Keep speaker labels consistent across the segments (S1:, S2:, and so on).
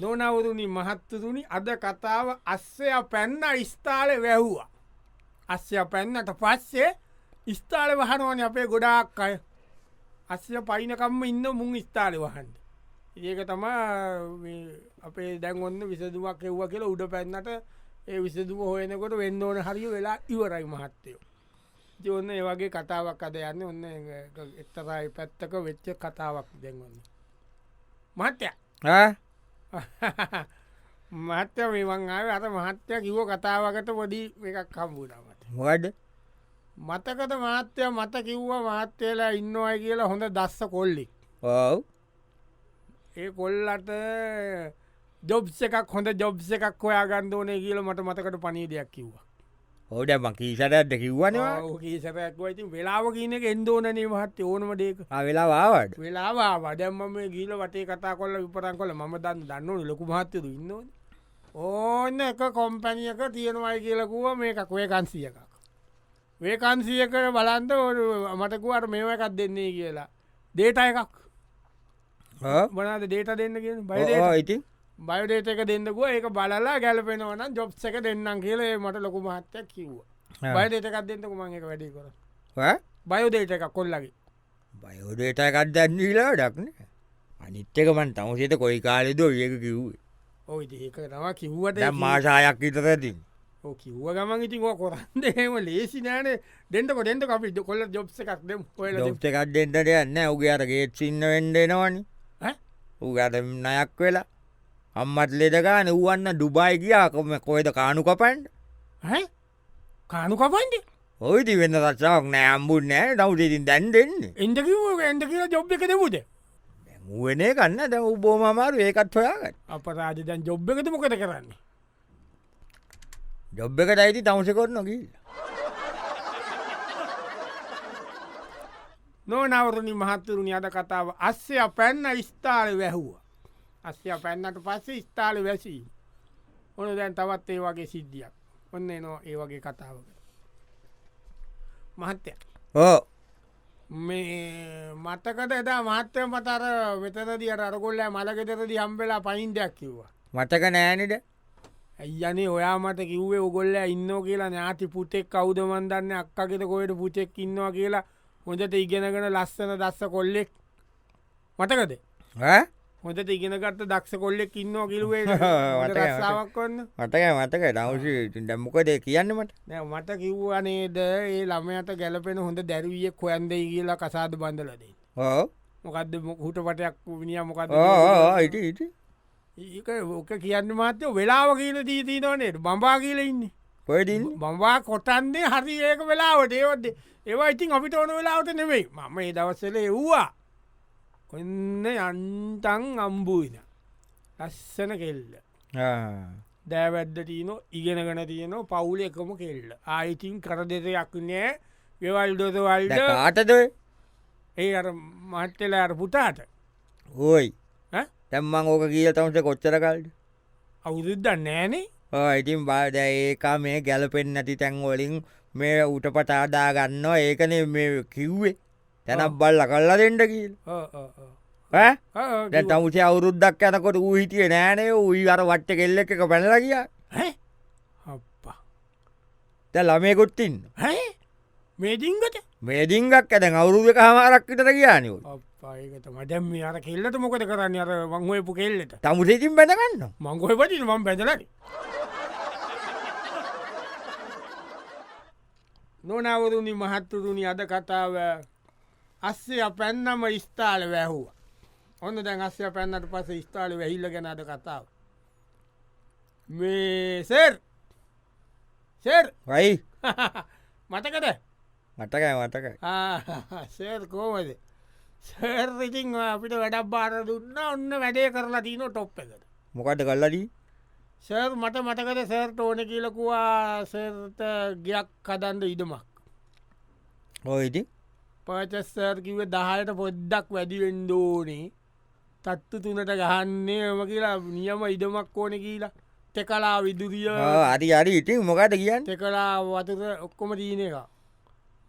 S1: නොනවරුණි මහත්තුරුණි අද කතාව අස්සය පැන්න ස්ථාල වැැව්වා. අස්්‍ය පැන්නට පස්සේ ස්ථාල වහනුවන අපේ ගොඩාක් අය අස්්‍ය පයිනකම්ම ඉන්න මුං ස්ථාල වහන්ට. ඒක තමා අපේ දැන්ගොන්න විසදුවක් එව්ව කියලා උඩ පැන්නට ඒ විසදුම හොයනකොට වෙන්න ඕන හරිය වෙලා ඉවරයි මහත්තයෝ. ඉතින් ඔන්න ඒ වගේ කතාවක් අද යන්න ඔන්න එත්තරයි පැත්තක වෙච්ච කතාවක් දැන්වන්න. මහත්තය මහත්‍ය මේවන් ආව අත මහත්‍ය කිව්ව කතාවකට පොඩි එකක් කම්බුණමට
S2: මොකඩ
S1: මතකත මහත්‍ය මත කිව්ව මහත්තයලා ඉන්න අයි කියලා හොඳ දස්ස කොල්ලි
S2: ඔව්
S1: ඒ කොල්ලට ජොබ්ස එකක් හොඳ ජොබ්ස එකක් ඔොයා ගන්දෝනය කියල මට මතකට පනීදයක් කිව්වා
S2: හෝඩ මකීසටද කිව්වනවා
S1: ඒසපැක්වයිති වෙලාව කියන එක එන්දෝනනේ මහත්්‍ය ඕනම දේක
S2: වෙලාවාවට
S1: වෙලාවා වඩම්ම ගීල වටේ කතා කොල්ල විපරන් කොල ම දන්න දන්නවන ලොකු මහත්තරු ඉන්නවා ඕන්න එක කොම්පැනියක තියෙනවයි කියලකුව මේකක් වේකන්සිය එකක් වේකන්සියක බලන්ත ඔ- මටකුවට මේව එකක් දෙන්නේ කියලා දේට එකක් මනාද දේට දෙන්න කිය
S2: ඉති
S1: බයෝඩේට එක දෙන්නකුව ඒක බලලා ගැලපෙනවන ජොබ්ස එක දෙන්නම් කියලේ මට ලොකු මහත්තයක් කිව්වා
S2: ආ.
S1: බයදේට එකක් දෙන්නකු මං එක වැඩි කර බයෝදේට එකක් කොල්ලගේ
S2: බයෝඩේට කත්දන්න ලා ඩක්න අනිත්තක මන් තමුසේත කොයි කාලෙද ඒක කිව්වේ
S1: ඔයි ඒක තවා කිව්වට
S2: දැම් මාසායක් ඉතරතින්
S1: ඔව් කිව්ව ගමන් ඉතින් ඕ කොරන්න එහෙම ලේසි නෑනේ දෙන්නක දෙන්න අපි කොල්ල ජොබ්ස එකක් දෙම් ඔල
S2: ලොප්ත කත්දෙන්ට යන්න උගේ අරගේ සින්න වෙන්ඩෙනවනි
S1: ඈ?
S2: උගට නයක් වෙලා අම්මත් ලෙදකාන වුවන්න ඩුබයි ගියාකොම කොයිද කානු කපන්ට
S1: කානු කපන්ට
S2: ඔයිති වෙන්න රත්සාක් නෑ අම්බුන් නෑ නවතිතින් දැන් දෙන්නේ
S1: එන්ඩ කිව ඇන්ඩ කියලා ජොබ් එක දෙමුද
S2: මුවනේ කන්න දැ උබෝම අමාරු ඒකත් හොයාගන්න
S1: අප රාජතන් ජොබ් එකත මොකද කරන්න
S2: ජොබ් එකට අයිති තවසකොත් නොකිල්
S1: නොනවරණි මහත්තුරුණි අද කතාව අස්්‍ය පැන්න ස්ථාල වැැහ්වා අස්්‍ය පැන්නට පස්සේ ස්ථාල වැසී ඕන දැන් තවත් ඒ වගේ සිද්ධියක් ඔන්න නෝ ඒ වගේ කතාවක මහත්තය
S2: ඕ
S1: මේ මතකට එදා මාත්‍යය පතර වෙතරදිිය අරකොල්ල මලකෙතරදි හම්බෙලා පයින්දයක් කිව්වා.
S2: මතක නෑනෙට
S1: ඇයියනේ ඔයා මට කිව්වේ ඔගොල්ල ඉන්න කියලා ඥාති පුතෙක් කවුදමන්දන්න අක්කගෙත කොයට පුතෙක් ඉන්නවා කියලා හොඳට ඉගෙනගෙන ලස්සන දස්ස කොල්ලෙක් මතකද හොඳට ඉගෙනගත්ත දක්ෂ කොල්ලෙක් ඉන්නවා කිලුවේ
S2: මතකයි, මතකයි.
S1: රස්සාාවක් කොන්න
S2: මතක මතක දවස දැම්මකද කියන්නමට
S1: නෑ මට කිව්වනේද ඒ ළමයට ගැලපෙන හොඳ දැරුවිය කොයන්දයි කියලා කසාද බඳලදේ
S2: ඕ
S1: මොකක්ද හුට පටයක් විනිිය මොකද
S2: ඕට ඉට
S1: ඒක ඕක කියන්න මාත්‍යය වෙලාව කියල දීතිී නොනේ බම්බා කියල ඉන්න
S2: පොයදින්
S1: බම්වා කොටන්දේ හරි ඒක වෙලාවට ඒවද ඒවා ඉතින් අපිට ඕන වෙලාවට නෙවෙයි මම ඒ දවස්සල එව්වා ඔන්න යන්තන් අම්බූන ලස්සන කෙල්ල දෑවැද්ද තියනෝ ඉගෙනගෙන තියනෝ පවුල එකම කෙල්ල ආයිතින් කර දෙදයක් නෑ ගෙවල් දොදවල්ට
S2: ආටද
S1: ඒ අර මට්ටල අර පුතාට
S2: ඕයි
S1: ඈ?
S2: තැම්මං ඕක කියල තමස කොච්චර කල්ට
S1: අවුරුද්ද නෑනේ
S2: ඉතින් බාද ඒකා මේ ගැලපෙන් නැති තැන්වලින් මේ උට පටාදා ගන්න ඒකන මේ කිව්වේ තැනක් බල්ල කල්ලා දෙෙන්ට කියල්
S1: ඕ, ඕ, ඕ.
S2: ඇ
S1: ඕ, ඕ,
S2: දැ තමුසේ අවුරුද්දක් යනකොට වූ හිටිය නෑනේ උයි අර වට්ට කෙල්ල එක පැනල ගිය
S1: ඈ? අප්පා
S2: තැ ළමයකුත්තින්
S1: හැ මේ දිංගට
S2: මේදිංගක් ඇද අවුරුද හමාරක්කට කියානව
S1: අපඒකත මඩැම් අර කෙල්ලට මොකද කරන්න අර වංහයපු කෙල්ලට
S2: තමුසේතින් පැනගන්න
S1: මංගොය පටින මම් පැදලට නොනවරුණි මහත්තුරුණි අද කතාව අස්සේ පැන්නම ස්ථාල වැැහුව ඔන්න දැන් අස්්‍ය පැන්නට පස ස්ථාල වැහිල්ල ගැන අද කතාව මේ සෙර් සෙර්
S2: වයි
S1: මතකට
S2: මටකයි මටකයි
S1: සර් කෝමද සර්රිතිං අපිට වැඩක් බාර දුන්න ඔන්න වැඩේ කරලා තියන ටොප් එකට
S2: මොකද කල්ලදී
S1: සර් මට මටකද සර්ට ඕන කියලකවා සර්ට ගයක් කදන්ඩ ඉඩමක්
S2: හෝයිති
S1: පචස්සර් කිව දහයට පොද්දක් වැඩිවෙන්ඩෝනේ තත්තු තුනට ගහන්නේ ම කියලා නියම ඉඩමක් ඕන කියලා තෙකලා විදුරිය
S2: අරි අරි ඉතින් මොකට කියන්න
S1: තෙකලා වතුර ඔක්කොම දීන එක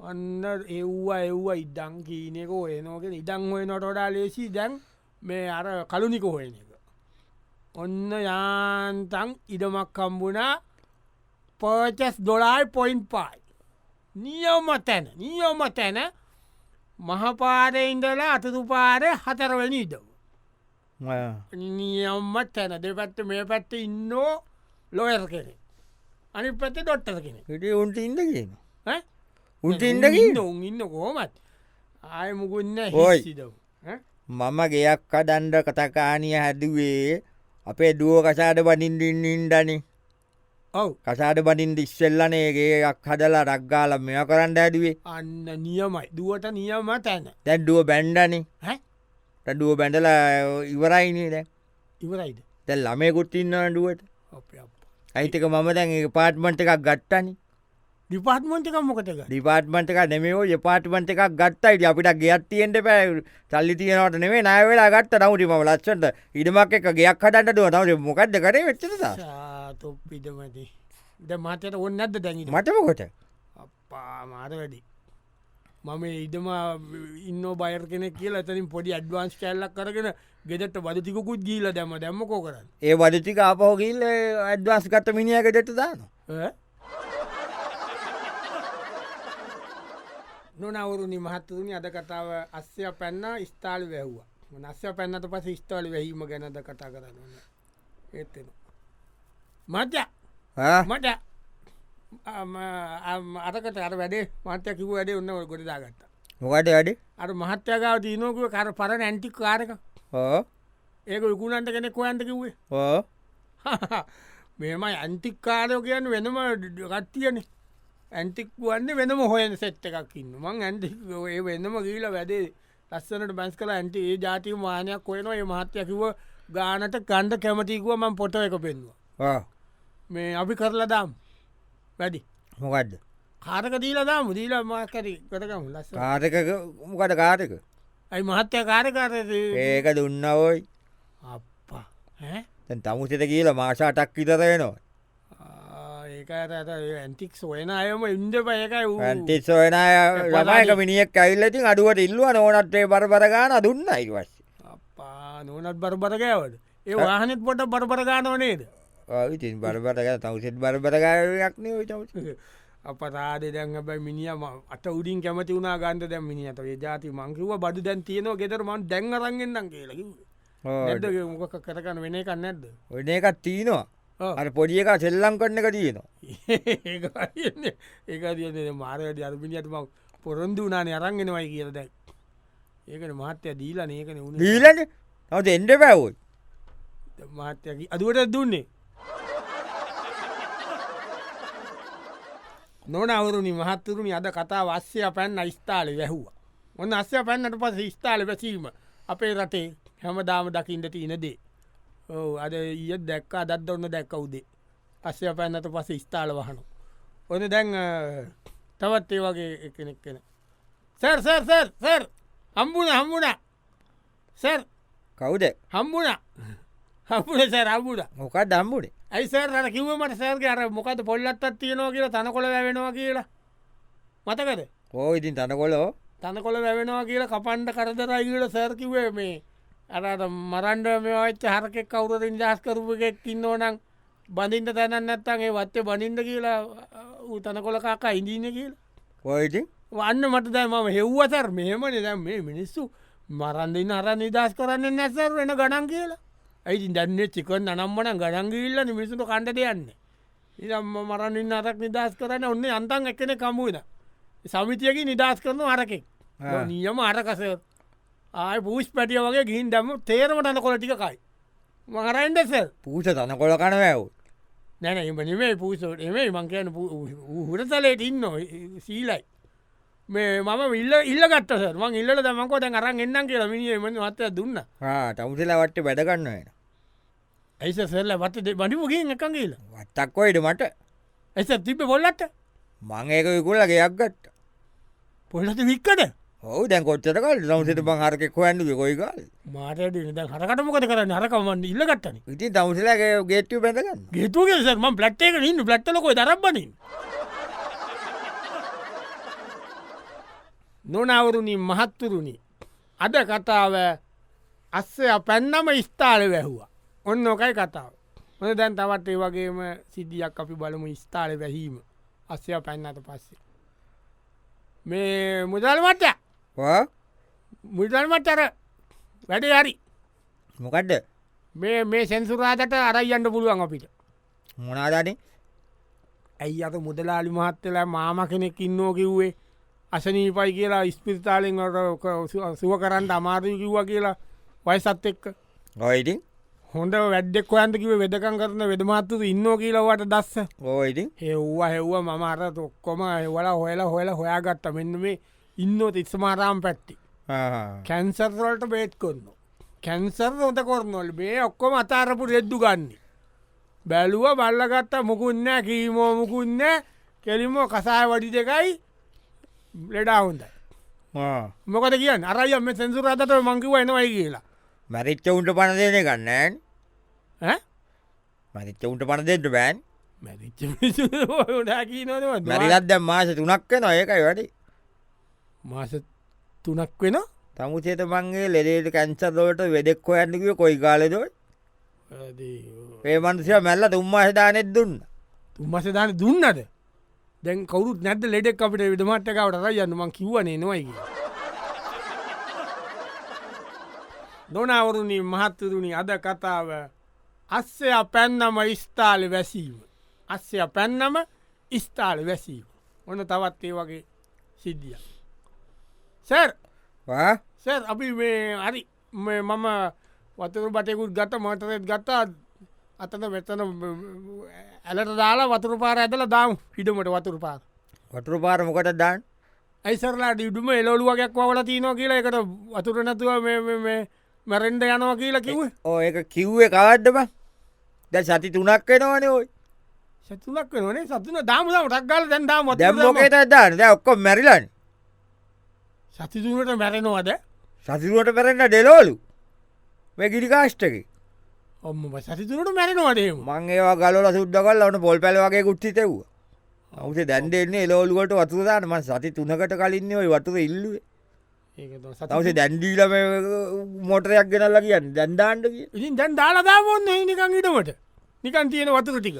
S1: අන්න එව්වා එව්වා ඉඩං කීනෙක ඔයනෝක ඉඩං ඔය නොටොඩා ලේසි දැන් මේ අර කලුනික හොයන එක ඔන්න යාන්තන් ඉඩමක් කම්බුණා පර්චස් ඩොලායි පොයින්් පායි. නියම තැන නියම තැන මහපාරඉන්දලා අතතුපාර හතරවැනි ඉඩම. නියම්ම තැන දෙපැත්ත මේ පැත්ත ඉන්නෝ ලොයර් කෙනෙ. අනි පැත්ත ඩොට්ටර කෙනෙ
S2: හිට උන්ට ඉද කියන
S1: ඈ?
S2: උන්ට ඉඩකින්න
S1: ඔවුන් ඉන්න කොහොමත් ආය මුකුන්න
S2: හොයි.
S1: සිදව
S2: මම ගෙයක් කඩන්ඩ කතකානය හැදුවේ අපේ දුව කසාට බඩින්ඩින්ඩනි
S1: ඔව්
S2: කසාට බඩින්ඩ ඉස්සෙල්ලනේගේක් හදලා රක්ගාල මෙය කරන්න හැදුවේ
S1: අන්න නියමයි දුවට නියම තැන
S2: තැඩ්ඩුව බැන්්ඩනි
S1: ඈ?
S2: ටඩුව බැඳල ඉවරයිනේ දැ
S1: ඉවරයිද
S2: තැල් ළමයකුත් ඉන්න ඩුවට
S1: අපේ අප්පා.
S2: ඇයිතක මම දැන් පාට්මට එකක් ගට්ටනි
S1: ඩිපාර්ට්මන්ට් එකක් මොකටක
S2: ඩිපාර්ට්මන්ට එක නෙමෝ පාට්මට එකක් ගත්තයිට අපිට ගෙයක් තියෙන්ට පැ සල්ලි තියනට නෙේ නෑවෙලා ගත්ත නවටිම ලස්සට ඉඩමක් එක ගෙයක් හටට දුව නවට මොකක්ද කරේ වෙච්චසා
S1: සාතොප්පිටමති ද මතයට ඔන්න ඇද දැඟට
S2: මටමකොට
S1: අපා මාර වැඩි මම ඉඩම ඉන්න බයර් කෙනෙක් කියලා ඇතනින් පොඩි අඩ්වාන්ස් කැල්ලක් කරගෙන ගෙදට බදතිකුත් ගීල දැම දැම්ම කෝ කරන්න
S2: ඒ වඩතික අපහෝකිල් ඇඩ්වාස් ගත්ත මිනිියක දෙට දාන
S1: ඈ? නොනවුරුනි මහත්තුරුණි අද කතාව අස්්‍ය පැන්න ස්ථාල් වැැහ්වා නස්්‍ය පැන්නට පස ස්ථාල වැහීම ගැනද කතා කරන්න ඒත්තෙන මච මට අම- අම- අරකට අර වැඩේ මත්‍ය කිව වැඩේ ඔන්න ඔය ගොඩදා ගත්ත
S2: මොකට වැඩි
S1: අර මහත්‍යකාව දීනෝකුව කර පර නැන්ටි කාරක
S2: ඕ
S1: ඒක විකුණන්ට කෙනෙක් කොයන්ට කිව්වේ
S2: ඕ
S1: මෙම ඇන්තික්කාරයෝ කියන්න වෙනම ගත්තියන ඇන්තික් වන්න වෙනම හොයන් සෙට් එකක් ඉන්න මං ඇන්ති ඒ වෙනම ගීල වැඩේ ලස්සනට බැස් කල ඇන්ටි ඒ ජාතික මානයක් කොයනවා ඒ මහත්යකිව ගානට ගණ්ඩ කැමතිකුව මං පොට එක පෙන්වා මේ අපි කරලා දාම් වැඩි
S2: මොකක්ද
S1: කාරක දීලා දාම දීල මාකරි කරකම ලස්ස
S2: කාරක මොකට කාරක
S1: ඇයි මහත්‍ය කාරකාර
S2: ඒක දුන්න ඕයි
S1: අප්පා ඈ?
S2: දැන් තමුසෙට කියලා මාසාටක් විතරයනවා
S1: ආ, ඒක අර අර ඒ ඇන්ටික් සොයන අයම ඉන්ද පයකයි වූ
S2: ඇන්ටිස් සොයන ලමයක මිනිියක් ඇල්ලති අඩුවට ඉල්ලුව නොනටේ බරබරගාන දුන්න අයිවස්
S1: අපා නොනත් බරබරගෑවට ඒ වාහනෙත් පොට බරබරගානෝ නේද
S2: ඉතින් බරබරග තවසෙත් බරබරගයක්න විතවස
S1: අප රාඩ දැන් බයි මිනිියම අට උඩින් කැමති වුණ ගන්ද දැ මිනිියට ජාති මංකිව බඩු දැන් තියනවා ගෙදරමන් දැන් අරන්ගෙන්න්නම් කියලකි ඇඩ මොක කරකන වෙන එකන්න නැද්ද
S2: ඔන එකත් තියනවා
S1: ඔව්.
S2: අර පොඩිය එක සෙල්ලම් කරන එක තියනවා
S1: ඒක හරියන්නේ. ඒක තියන මාරයට අරමිනිියට ම පොරොන්දු වනානේ අරන්ගෙනවයි කියල දැක් ඒකන මහත්‍යය දීලා නඒකන උුණ
S2: දීලන තවස එන්ඩ පැවුත්
S1: මහත්යකි අදුවට දුන්නේ නොන අවුරුනි මහත්තුරුණි අද කතා වස්්‍යය පැන්න ස්ථාල වැැහ්වා ඔන්න අස්්‍ය පැන්නට පස ස්ථාල පැසීම අපේ රටේ හැම දාම දකිින්ට ඉනදේ ඕ අද ඊය දැක්කා දත් ඔන්න දැක්ක උදේ අස්්‍ය පැන්නට පස ස්ථාල වහනු ඔන්න දැන් අ, තවත් ඒ වගේ එක කෙනෙක් කෙන සැර්සර්සර් හම්බුණ හම්බුණ සැර්
S2: කවුද
S1: හම්බුණ හම්බුණ සැර හම්බුණ
S2: මොකක් දම්බුඩේ
S1: ඇයිසර් අර කිව්වමට සෑර්ගේ අර මොකද පොල්ලත්තත් තියෙනවා කියලා තනකොළ වැැවෙනවා කියලා මතකද
S2: ඕ ඉතින් තනකොලෝ
S1: තනකොළ වැැවෙනවා කියලා කපන්ඩ කරදරයි කියල සැර්කිවේ මේ අරට මරන්ඩ මෙච්ච හරකෙක් කවුරරින් ජාස් කරපුගෙක් ඉන්නෝ නම් බඳින්ට තැනන් නැත්තන්ගේ වත්තේ බනින්ද කියලා ඌ තනකොළ කාකා ඉඳීන කියලා
S2: ඔයිති
S1: වන්න මට දැ මම හෙව්වසර් මෙහෙම නිදැම් මේ මිනිස්සු මරන්දින්න අර නිදස් කරන්න නැසර් වෙන ගඩන් කියලා ඇයි දැන්නේ චිකන් අනම්මන ගඩන්ගිල්ල නිමිසුට කණ්ඩට යන්න ඉම් මරන්න්න අරක් නිදස් කරන්න ඔන්න අන්තන් එකන කමුවද සමිතියකි නිදස් කරන අරකෙක්
S2: ආ.
S1: නියම අරකස ආය පූෂ් පැටිය වගේ ගිහින් දැම තේරමටන කොලටිකයි මහරයින්ද සෙල්
S2: පූස තනකොල කන වැැවුත්
S1: නැන එම නෙමේ පූසට එමේ මංකයන හුරතලයට ඉන්න සීලයි මේ මම විල්ල ඉල්ලගත්ත මං ඉල්ල දමකො දැන් අරන් එන්නම් කියලා මිනිියම මත්ත දුන්න
S2: තමුසෙල වට්ට වැඩගන්න වෙන
S1: ඇයිස සෙල්ල වත්තේ බඩිපුගින් එකන් කියලා
S2: වත්තක්කොයිට මට
S1: ඇස තිබ පොල්ලට
S2: මං ඒක විකුල්ල ගෙයක් ගත්ත
S1: පොල්ලට වික්කට
S2: ඔහු දැන් කොච්චර කල් නවසට පං හරකෙක් හොයන්ඩු කොයිකල්
S1: මාටට ද හරකටමකත කර නරකමන් ඉල්ලගත්තන
S2: ඉතින් තමුසලගේ ගේට්ටිය පැඳගන්න
S1: ගේතුගේසම ප්ලට්ේක ඉන්න ප්ලට්ලකොයි දරබනින් නොනවරුණින් මහත්තුරුණි අද කතාව අස්සය පැන්නම ස්ථාල වැැහ්වා ඔන්න ඕකයි කතාව ඔන දැන් තවත් ඒ වගේම සිද්ධියක් අපි බලමු ස්ථාල වැැහීම අස්්‍යය පැන්නට පස්සේ මේ මුදල් මට්ට
S2: ඔව්.
S1: මුදල් මට්ටර වැඩේ හරි
S2: මොකක්ද
S1: මේ මේ සැන්සුරාදට අරයි අන්න පුළුවන් අපිට
S2: මොනාදානේ
S1: ඇයි අත මුදලාලි මහත්තලා මාම කෙනෙක් ඉන්නෝ කිව්වේ අසනීපයි කියලා ඉස්පිරිතාලෙන් සුව කරන්න අමාරය කිව්වා කියලා වයසත් එක්ක
S2: ඔයිඉතින්
S1: හොඳ වැඩෙක් හොයන්ට කිව වෙදකම් කරන වෙදමාත්තුතු ඉන්නෝ කියලවට දස්ස
S2: ඕයිඉතින්
S1: හෙව්වා හෙව්වා මම අර ඔක්කොම වලා හොයලා හොයලා හොයාගත්ත මෙන්න මේ ඉන්නෝ තිස්සමාරාම් පැත්ති කැන්සර්වලට බේට් කොන්න කැන්සර් නොත කොරනොල් මේ ඔක්කොම අතාරපු රෙද්දු ගන්න බැලුව බල්ලගත්ත මුකුන්න කීමෝ මුකුන්න කෙලිම කසාය වඩි දෙකයි ලෙඩා හොඳයි මොකද කියන්න අරය මෙ සැසුරතට මංකිව එනවයි කියලා
S2: මැරිච්ච උන්ට පණ දෙන ගන්නන්
S1: ඈ?
S2: මරිච්ච උන්ට පණ දෙට බෑන්
S1: මැරිච්ච මිනිස්සු ඔය කී නොනවද?
S2: මැරිලත් දැම් මාස තුනක්ක නොයකයි වැඩි
S1: මාස තුනක් වෙන
S2: තමුසේත මංගේ ලෙඩේට කැන්සර්ලෝට වෙදෙක් හොයන්නකිව කොයි කාලෙදොට ඒමන්සිය මැල්ල තුම්මාසදානෙත් දුන්න
S1: උම්මසදාන දුන්නද දැන් කවුරුත් නැද ලෙඩෙක් අපිට විදමට්ටකවට යන්නමං කිවනේ නොයි දොනවරුණි මහත්තතුනි අද කතාව අස්සය පැන්නම ස්ථාල වැසීම අස්සය පැන්නම ස්ථාල වැසීම ඔන්න තවත් ඒ වගේ සිද්ධිය සැර්
S2: වා?
S1: සර් අපි මේ හරි මේ මම වතුර බටයකුත් ගත මටරත් ගත්තා අතන වෙතන ඇලට දාලා වතුර පාර ඇදල දාම් හිටමට වතුර පාර
S2: වතුරු පාරමකට දාන්
S1: ඇයිසරලා ඉඩුම එලොලුවගයක් වල තියනෝ කියලා එකට වතුර නැතුව මේ- මේ- මේ මැරෙන්ඩ යනවා කියලා කිව
S2: ඕ ඒ කිව්වේ කවද්දම දැ සති තුනක් වෙනවාන ඔයි
S1: සතුනක් වනේ සතුන දාමුදම ටක්ගල දැන් දාම
S2: දැම්මෝකේත දාන්න දැ ඔක්කො මැරිලන්
S1: සතිතුනට මැරෙනවාද
S2: සතිරුවට පැරෙන්න්න ඩෙලෝලු මේ ගිරිකාශ්ටකි
S1: ඔම සතිතුනට මැරෙනවාදේම
S2: මං ඒවා ගලල සුද්ද කල් වන පොල් පැලවගේ කුට්ටි තෙව් අවුසේ දැන්ඩෙන්නේ එලෝලුවට වතුදානම සති තුනකට කලින්න්නේ ඔයි වතුර ඉල්ලුවේ තවසේ දැන්ඩීලම මෝටරයක් ගෙනල්ලා කියන්න දැන්දාන්ඩ කිය
S1: ඉතින් දැන් දාලා දාමොන්න නිකං ඉටමට නිකන් තියෙන වතුර ටික